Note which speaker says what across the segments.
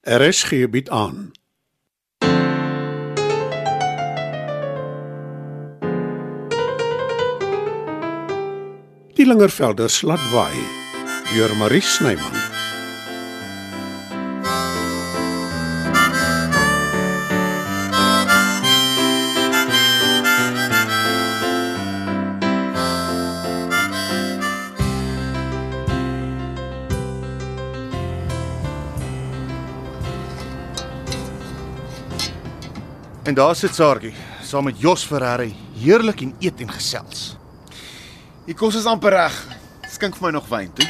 Speaker 1: Er is gebied aan. Die Lingervelders laat waai deur Marie Snyman.
Speaker 2: En daar sit Saartjie, saam met Jos Ferrari, heerlik en eet en gesels.
Speaker 3: Die kos is amper reg. Skink vir my nog wyn toe.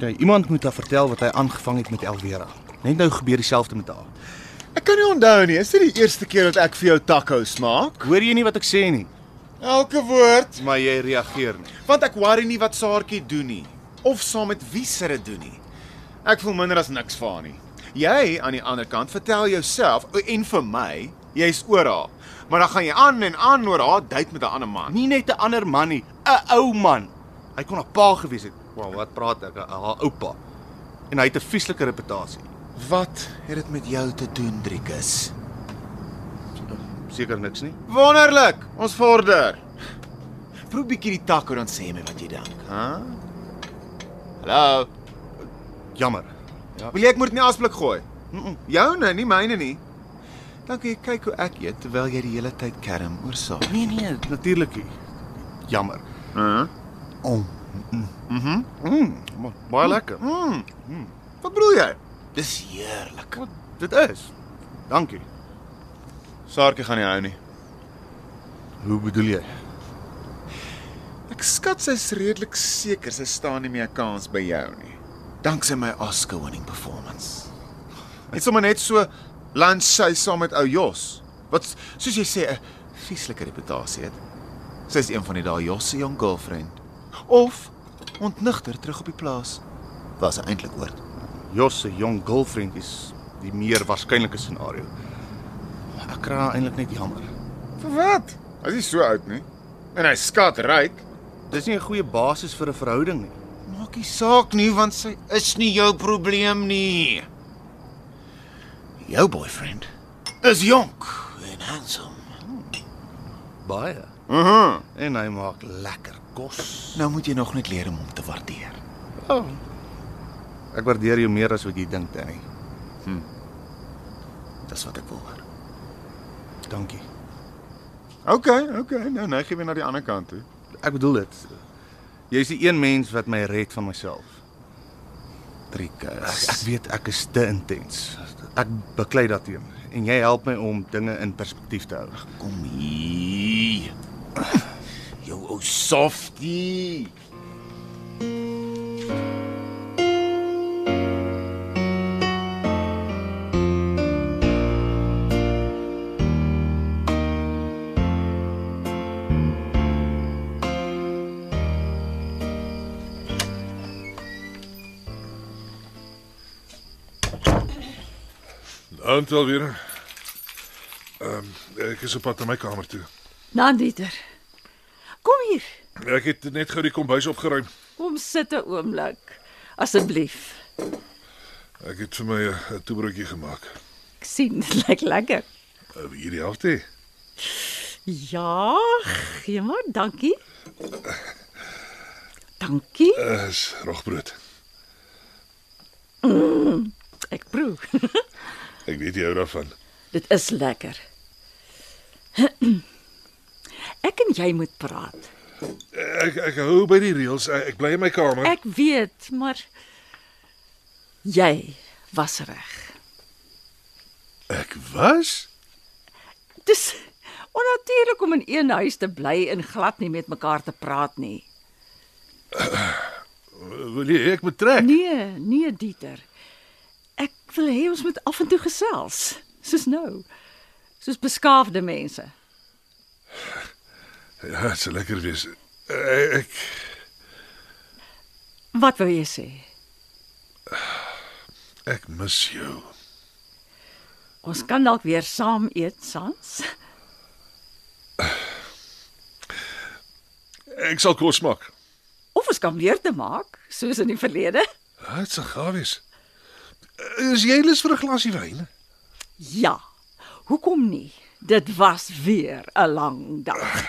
Speaker 2: Ja, iemand moet haar vertel wat hy aangevang het met Elwera. Net nou gebeur dieselfde met haar.
Speaker 3: Ek kan nie onthou nie. Is dit die eerste keer dat ek vir jou tacos maak?
Speaker 2: Hoor jy nie wat ek sê nie?
Speaker 3: Elke woord,
Speaker 2: Maar jy reageer nie.
Speaker 3: want ek worry nie wat Saartjie doen nie of saam met wie sy dit doen nie. Ek voel minder as niks vir haar nie. Jy aan die ander kant vertel jouself o, en vir my, jy's oor haar. Maar dan gaan jy aan en aan oor haar date met 'n ander man.
Speaker 2: Nie net 'n ander man nie, 'n ou man. Hy kon haar pa gewees het. Wel, wat praat ek? Haar oupa. En hy het 'n vieslike reputasie.
Speaker 3: Wat het dit met jou te doen, Driekus?
Speaker 2: Seker niks nie.
Speaker 3: Wonderlik. Ons vorder. Proe bietjie die taco dan sê my wat jy dink, hè? Hallo.
Speaker 2: Jammer.
Speaker 3: Wil jy ek moet nie asblik gooi?
Speaker 2: Mm -mm.
Speaker 3: Joune, nie myne nie. Dan kan jy kyk hoe ek eet terwyl jy die hele tyd kerm oor saak.
Speaker 2: Nee nee, natuurlik nie. Jammer.
Speaker 3: Hæ?
Speaker 2: Oh.
Speaker 3: Mhm.
Speaker 2: Mm, maar baie lekker.
Speaker 3: Mm.
Speaker 2: Mm.
Speaker 3: Wat bedoel jy? Dis heerlik.
Speaker 2: Wat dit is. Dankie.
Speaker 3: Saartjie gaan nie hou nie.
Speaker 2: Hoe bedoel jy?
Speaker 3: Ek skat sy's redelik seker sy staan nie meer 'n kans by jou nie. Danksy my Oscar-winning performance. Dit sommer net so lunch sy saam met ou Jos. Wat soos jy sê 'n vieslike reputasie het. Sy's een van die daai Jos se jong girlfriend. Of ontnigter terug op die plaas. Was eintlik oor.
Speaker 2: Jos se jong girlfriend is die meer waarskynlike scenario. Ek kra eintlik net jammer.
Speaker 3: Vir wat? Hy's nie so oud nie. En hy skat ryk.
Speaker 2: Dis nie 'n goeie basis vir 'n verhouding nie.
Speaker 3: Maak nie saak nie want sy is nie jou probleem nie. Jou boyfriend is jonk en handsome.
Speaker 2: Baie.
Speaker 3: Mhm. Uh
Speaker 2: En hy maak lekker kos.
Speaker 3: Nou moet jy nog net leer om hom te waardeer.
Speaker 2: Oh. Ek waardeer jou meer as wat jy dink, Danny.
Speaker 3: Dis wat ek wil hoor.
Speaker 2: Dankie.
Speaker 3: OK, OK. Nou nou gee weer na die ander kant toe.
Speaker 2: Ek bedoel dit. Jy's die een mens wat my red van myself. Ek, ek
Speaker 3: Trikus.
Speaker 2: weet ek is te intens. Ek beklei daarteen en jy help my om dinge in perspektief te hou.
Speaker 3: Kom hier. Jou ou softie.
Speaker 4: Aand alweer. Ehm ek is op pad na my kamer toe.
Speaker 5: Nandieter. Kom hier.
Speaker 4: Ek het net gou die kombuis opgeruim.
Speaker 5: Kom sit 'n oomblik asseblief.
Speaker 4: Ek het vir my eh, 'n- 'n toebroodjie gemaak.
Speaker 5: Ek sien dit lyk lekker.
Speaker 4: Uh, hierdie helfte.
Speaker 5: Ja, gee maar, dankie. Dankie.
Speaker 4: Uh, is rogbrood.
Speaker 5: Ek proe.
Speaker 4: Ek weet jy hou daarvan.
Speaker 5: dit is lekker. Ek en jy moet praat.
Speaker 4: Ek ek hou by die reëls. Eh, Ek, ek bly in my kamer.
Speaker 5: Ek weet, maar jy was reg.
Speaker 4: ek was
Speaker 5: Dis onnatuurlik om in een huis te bly en glad nie met mekaar te praat nie.
Speaker 4: wil jy hê ek moet trek?
Speaker 5: Nee, nee Dieter. Ek wil hê ons moet af en toe gesels, soos nou. Soos beskaafde mense.
Speaker 4: Ja, dit sal lekker wees. Uh, ek
Speaker 5: Wat wou jy sê?
Speaker 4: ek mis jou.
Speaker 5: Ons kan dalk weer saam eet, Sans.
Speaker 4: Ek sal kos maak. Ah,
Speaker 5: Of ons kan weer te maak, soos in die verlede.
Speaker 4: Dit sal gaaf wees. Eh, Is jy lus vir 'n glasie wyn?
Speaker 5: Ja. Hoekom nie? Dit was weer 'n lang dag.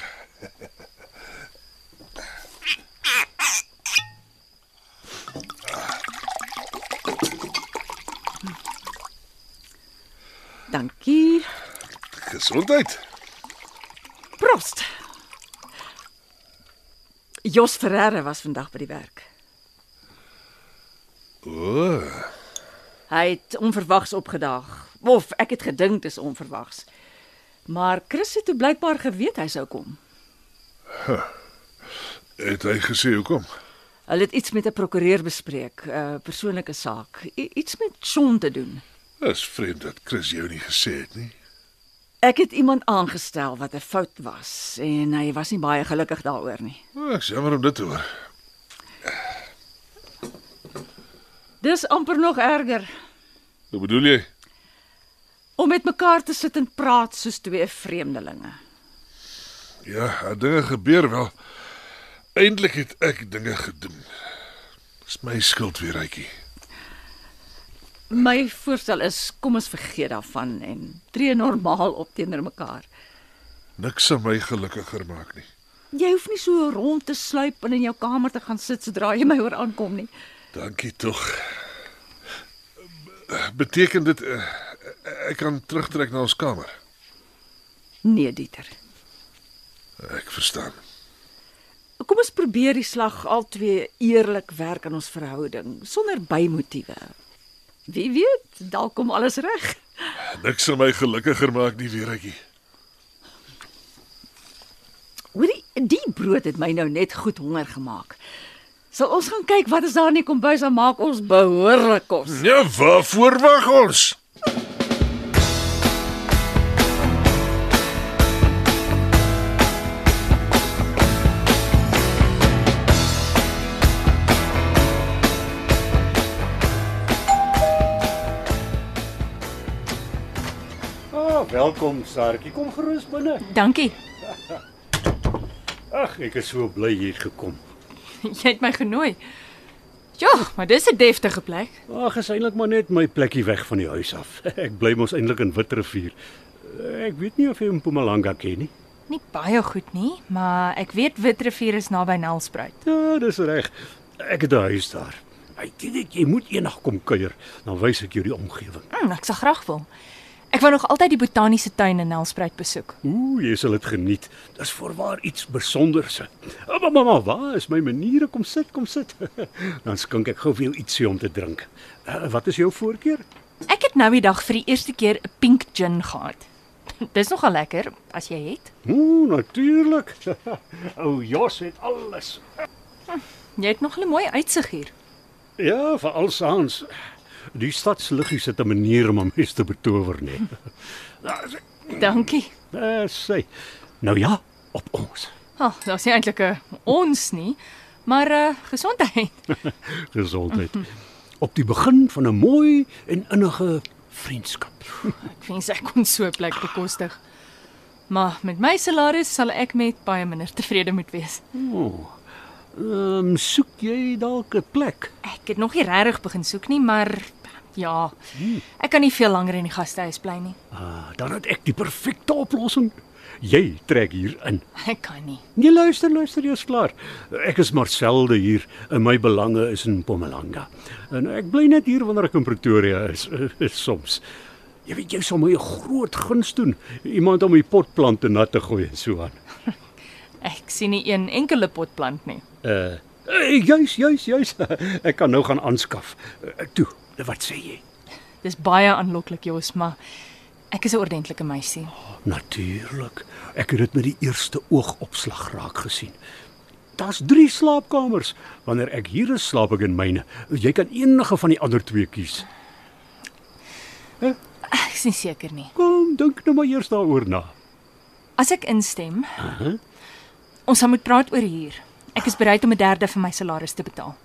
Speaker 5: Dankie.
Speaker 4: Gesondheid.
Speaker 5: Prost. Jos Ferreira was vandag by die werk.
Speaker 4: O,
Speaker 5: Hy het onverwags opgedaag. Of ek het gedink dis onverwags. Maar Chris het toe blykbaar geweet hy sou kom.
Speaker 4: het hy gesê hoekom?
Speaker 5: Hulle het iets met 'n prokureur bespreek, 'n persoonlike saak, I iets met Son te doen.
Speaker 4: Dis vreemd dat Chris jou nie gesê het nie.
Speaker 5: Ek het iemand aangestel wat 'n fout was en hy was nie baie gelukkig daaroor nie.
Speaker 4: O, Ek's jammer om dit te hoor.
Speaker 5: Dis amper nog erger
Speaker 4: Hoe bedoel jy?
Speaker 5: om met mekaar te sit en praat soos twee vreemdelinge.
Speaker 4: Ja, daar dinge gebeur wel. Eintlik het ek dinge gedoen. Dis my skuld weer, Rykie.
Speaker 5: My voorstel is kom ons vergeet daarvan en tree normaal op teenoor mekaar.
Speaker 4: Niks sal my gelukkiger maak nie.
Speaker 5: Jy hoef nie so rond te sluip en in jou kamer te gaan sit sodra jy my hoor aankom nie.
Speaker 4: Dankie tog. Beteken dit eh, ek kan terugtrek na ons kamer?
Speaker 5: Nee, Dieter.
Speaker 4: Ek verstaan.
Speaker 5: Kom ons probeer die slag albei eerlik werk aan ons verhouding sonder bymotiewe. Wie weet, dalk kom alles reg.
Speaker 4: Niks sal my gelukkiger maak nie, weeretjie.
Speaker 5: Hoorie, die brood het my nou net goed honger gemaak. Sal ons gaan kyk wat is daar in die kombuis en maak ons behoorlik kos.
Speaker 4: Ja, waarvoor wag ons?
Speaker 6: Ah, welkom Saartjie. Kom gerus binne.
Speaker 7: Dankie.
Speaker 6: Ag, ek is so bly jy het gekom.
Speaker 7: Jy het my genooi. Ja, maar dis 'n deftige plek.
Speaker 6: Ag, is eintlik maar net my plekkie weg van die huis af. Ek bly mos eintlik in Witrivier. Ek weet nie of jy Mpumalanga ken nie.
Speaker 7: Nie baie goed nie, maar ek weet Witrivier is naby Nelspruit.
Speaker 6: Ja, dis reg. Ek het 'n huis daar. Ek dink ek jy moet eendag kom kuier, dan wys ek jou die omgewing.
Speaker 7: Hm, ek sal graag wil. Ek wou nog altyd die botaniese tuin in Nelspruit besoek.
Speaker 6: Ooh, jy sal dit geniet. Dis voorwaar iets besonderse. Maar mamma, waar is my maniere? Kom sit, kom sit. Dan skink ek gou vir jou ietsie om te drink. Eh, Wat is jou voorkeur?
Speaker 7: Ek het nou die dag vir die eerste keer 'n pink gin gehad. Dis nogal lekker as jy het.
Speaker 6: Ooh, natuurlik. Ou Jos het alles.
Speaker 7: Jy het nog 'n mooi uitsig hier.
Speaker 6: Ja, vir alsaans. Die stadsliggies het 'n manier om 'n mens te betower, nee.
Speaker 7: Dankie.
Speaker 6: Eh, sê. Nou ja, op ons.
Speaker 7: Ag, oh, daar's nie eintlik 'n ons nie, maar eh gesondheid.
Speaker 6: Gesondheid. Op die begin van 'n mooi en innige vriendskap.
Speaker 7: Ek wens ek kon so 'n plek bekostig. Maar met my salaris sal ek met baie minder tevrede moet wees.
Speaker 6: Ehm, um, soek jy dalk 'n plek?
Speaker 7: Ek het nog nie regtig begin soek nie, maar ja, ek kan nie veel langer in die gastehuis bly nie.
Speaker 6: Ah, dan het ek die perfekte oplossing. Jy trek hier in.
Speaker 7: Ek kan nie.
Speaker 6: Nee, luister, luister, jy's klaar. Ek is maar selde hier en my belange is in Mpumalanga. En ek bly net hier wanneer ek in Pretoria is, soms. Jy weet jy sal my 'n groot guns doen, iemand om die potplante nat te gooi en so aan.
Speaker 7: Ek sien nie een enkele potplant nie.
Speaker 6: Uh, eh, juis, juis, juis. Ek kan nou gaan aanskaf. Eh, Toe, wat sê jy?
Speaker 7: Dis baie aanloklik, Jos, maar ek is 'n ordentlike meisie.
Speaker 6: Natuurlik. Ah, Ek het dit met die eerste oogopslag raak gesien. Daar's 3 slaapkamers. Wanneer ek hier is, slaap ek in myne. Jy kan enige van die ander twee kies.
Speaker 7: Ah, Ek is nie seker nie.
Speaker 6: Kom, dink nou maar eers daaroor na.
Speaker 7: As ek instem, ons sal moet praat oor huur. Ek is bereid om 'n derde van my salaris te betaal.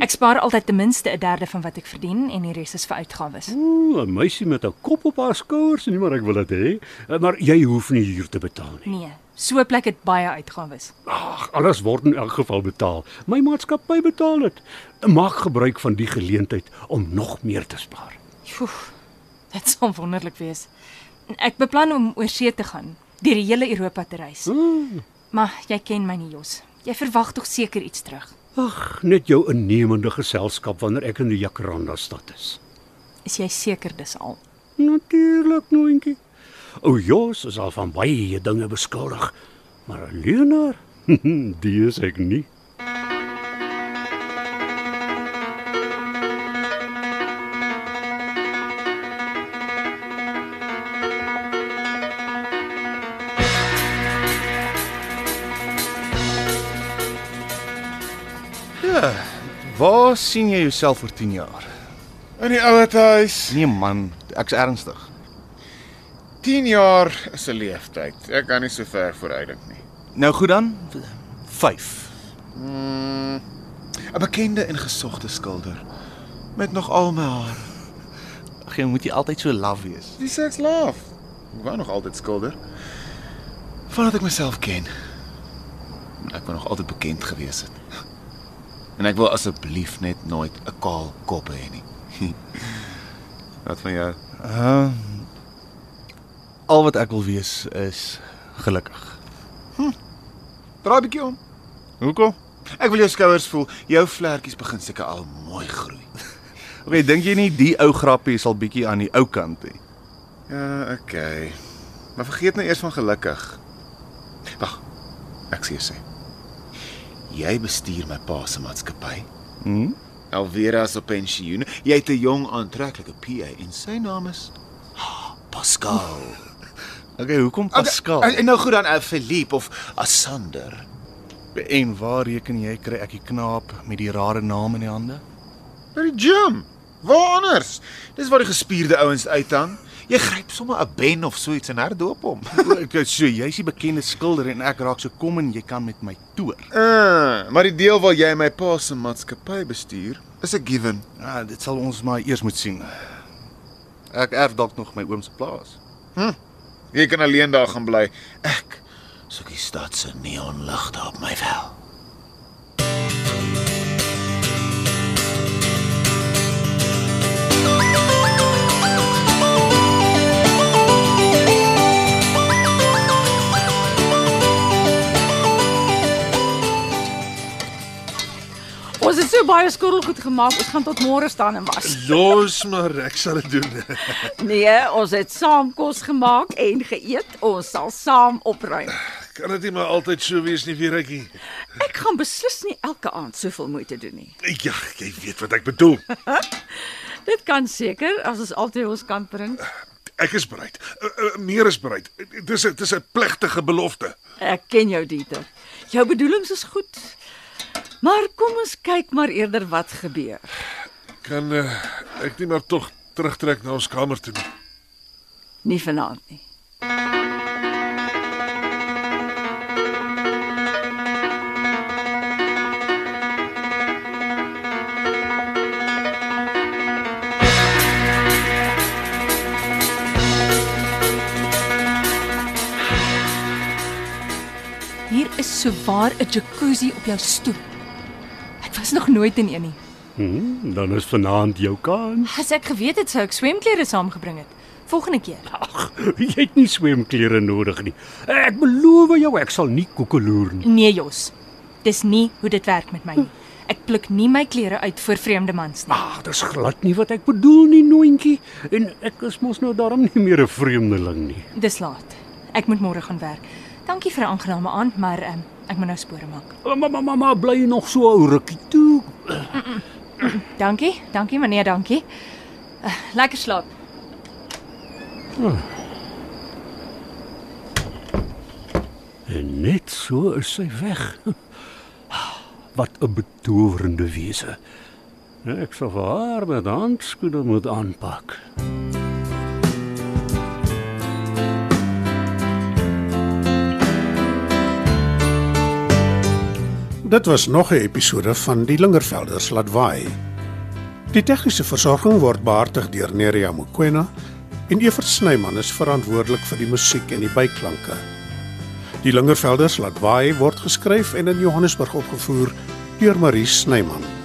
Speaker 7: Ek spaar altyd ten minste 'n derde van wat ek verdien en die res is vir uitgawes.
Speaker 6: Ooh, 'n meisie met 'n kop op haar skouers, nee, maar ek wil dit hê. Eh, Maar jy hoef nie huur te betaal nie.
Speaker 7: Nee, So 'n plek het baie uitgawes.
Speaker 6: Ag, alles word in elk geval betaal. My maatskappy betaal dit. Maak gebruik van die geleentheid om nog meer te spaar.
Speaker 7: Joef. Dit sal wonderlik wees. Ek beplan om oor see te gaan, deur die hele Europa te reis. Maar jy ken my nie, Jos. Jy verwag tog seker iets terug.
Speaker 6: Ag, net jou innemende geselskap wanneer ek in die Jacaranda stad is.
Speaker 7: Is jy seker dis al?
Speaker 6: Natuurlik, noontjie. O Jos is al van baie dinge beskuldig, maar 'n leienaar, die is ek nie.
Speaker 2: Waar sien jy jouself oor 10 jaar?
Speaker 3: In die ouer huis.
Speaker 2: Nee man, ek's ernstig.
Speaker 3: 10 jaar is 'n leeftyd. Ek kan nie so ver vooruit dink nie.
Speaker 2: Nou goed dan. 5.
Speaker 3: 'n Bekende en gesogte skilder met nog al my haar.
Speaker 2: Ag jy moet jy altyd so laf wees.
Speaker 3: Wie sê ek's laaf? Ek wou nog altyd skilder. Vandat ek myself ken. Ek wou nog altyd bekend gewees het. En ek wil asseblief net nooit 'n kaal kop hê nie. Wat van jou?
Speaker 2: Uh, al wat ek wil wees is gelukkig.
Speaker 3: Draai bietjie om.
Speaker 2: Hoekom?
Speaker 3: Ek wil jou skouers voel. Jou vlekkies begin seker al mooi groei.
Speaker 2: Okay, dink jy nie die ou grappie sal bietjie aan die ou kant hê?
Speaker 3: Ja, okay. Maar vergeet nou eers van gelukkig. Wag. Ek sê jou sê. Jy bestuur my pa se maatskappy.
Speaker 2: Hm?
Speaker 3: Alvera is op pensioen. Jy het 'n jong aantreklike PA en sy naam is Pascal.
Speaker 2: Okay, hoekom Pascal?
Speaker 3: En, en nou goed dan uh, Philippe of Asander.
Speaker 2: en waar reken jy kry ek die knaap met die rare naam in die hande?
Speaker 3: By die gym. Waar anders? Dis waar die gespierde ouens uithang. Jy gryp sommer 'n ben of so iets en hardloop hom.
Speaker 2: Ek so jy's die bekende skilder en ek raak so kom en jy kan met my toer.
Speaker 3: Uh, maar die deel waar jy my pa se maatskappy bestuur, is 'n given.
Speaker 2: Ah, dit sal ons maar eers moet sien. Ek erf dalk nog my oom se plaas.
Speaker 3: Jy kan alleen daar gaan bly. Ek soek die stad se neonligte op my vel.
Speaker 5: Ons het so baie skorrelgoed gemaak, ons gaan tot môre staan en was.
Speaker 4: Los maar, ek sal dit doen.
Speaker 5: Nee, ons het saam kos gemaak en geëet. Ons sal saam opruim.
Speaker 4: Kan dit nie maar altyd so wees nie, Vieretjie?
Speaker 5: Ek gaan beslis nie elke aand soveel moeite doen nie.
Speaker 4: Ja, jy weet wat ek bedoel.
Speaker 5: Dit kan seker as ons altyd ons kan bring.
Speaker 4: Ek is bereid. Uh, uh, meer is bereid. Dis 'n dis 'n plegtige belofte.
Speaker 5: Ek ken jou Dieter. Jou bedoelings is goed. Maar kom ons kyk maar eerder wat gebeur.
Speaker 4: Kan uh, ek nie maar tog terugtrek na ons kamer toe nie.
Speaker 5: Nie vanaand nie.
Speaker 7: Hier is sowaar 'n jacuzzi op jou stoep. Ek was nog nooit in een nie.
Speaker 6: Hm, dan is vanaand jou kans.
Speaker 7: As ek geweet het sou ek swemklere saamgebring het. Volgende keer.
Speaker 6: Ag, jy het nie swemklere nodig nie. Ek beloof jou, ek sal nie koekeloer nie.
Speaker 7: Nee, Jos. Dis nie hoe dit werk met my nie. Ek pluk nie my klere uit vir vreemde mans nie.
Speaker 6: Ag, dis glad nie wat ek bedoel nie, noontjie. En ek is mos nou daarom nie meer 'n vreemdeling nie.
Speaker 7: Dis laat. Ek moet môre gaan werk. Dankie vir 'n aangename aand, maar um, ek moet nou spore maak.
Speaker 6: Mamma, mamma, bly nog so ou rukkie toe.
Speaker 7: Dankie, dankie meneer, dankie. Uh, lekker slaap.
Speaker 6: En net so is sy weg. Wat 'n betowerende wese. Ek sal vir haar met handskoene moet aanpak.
Speaker 1: Dit was nog 'n episode van Die Lingervelders laat waai. Die tegniese versorging word behartig deur Neriya Mkwena en Evert Snyman is verantwoordelik vir die musiek en die byklanke. Die Lingervelders laat waai word geskryf en in Johannesburg opgevoer deur Marie Snyman.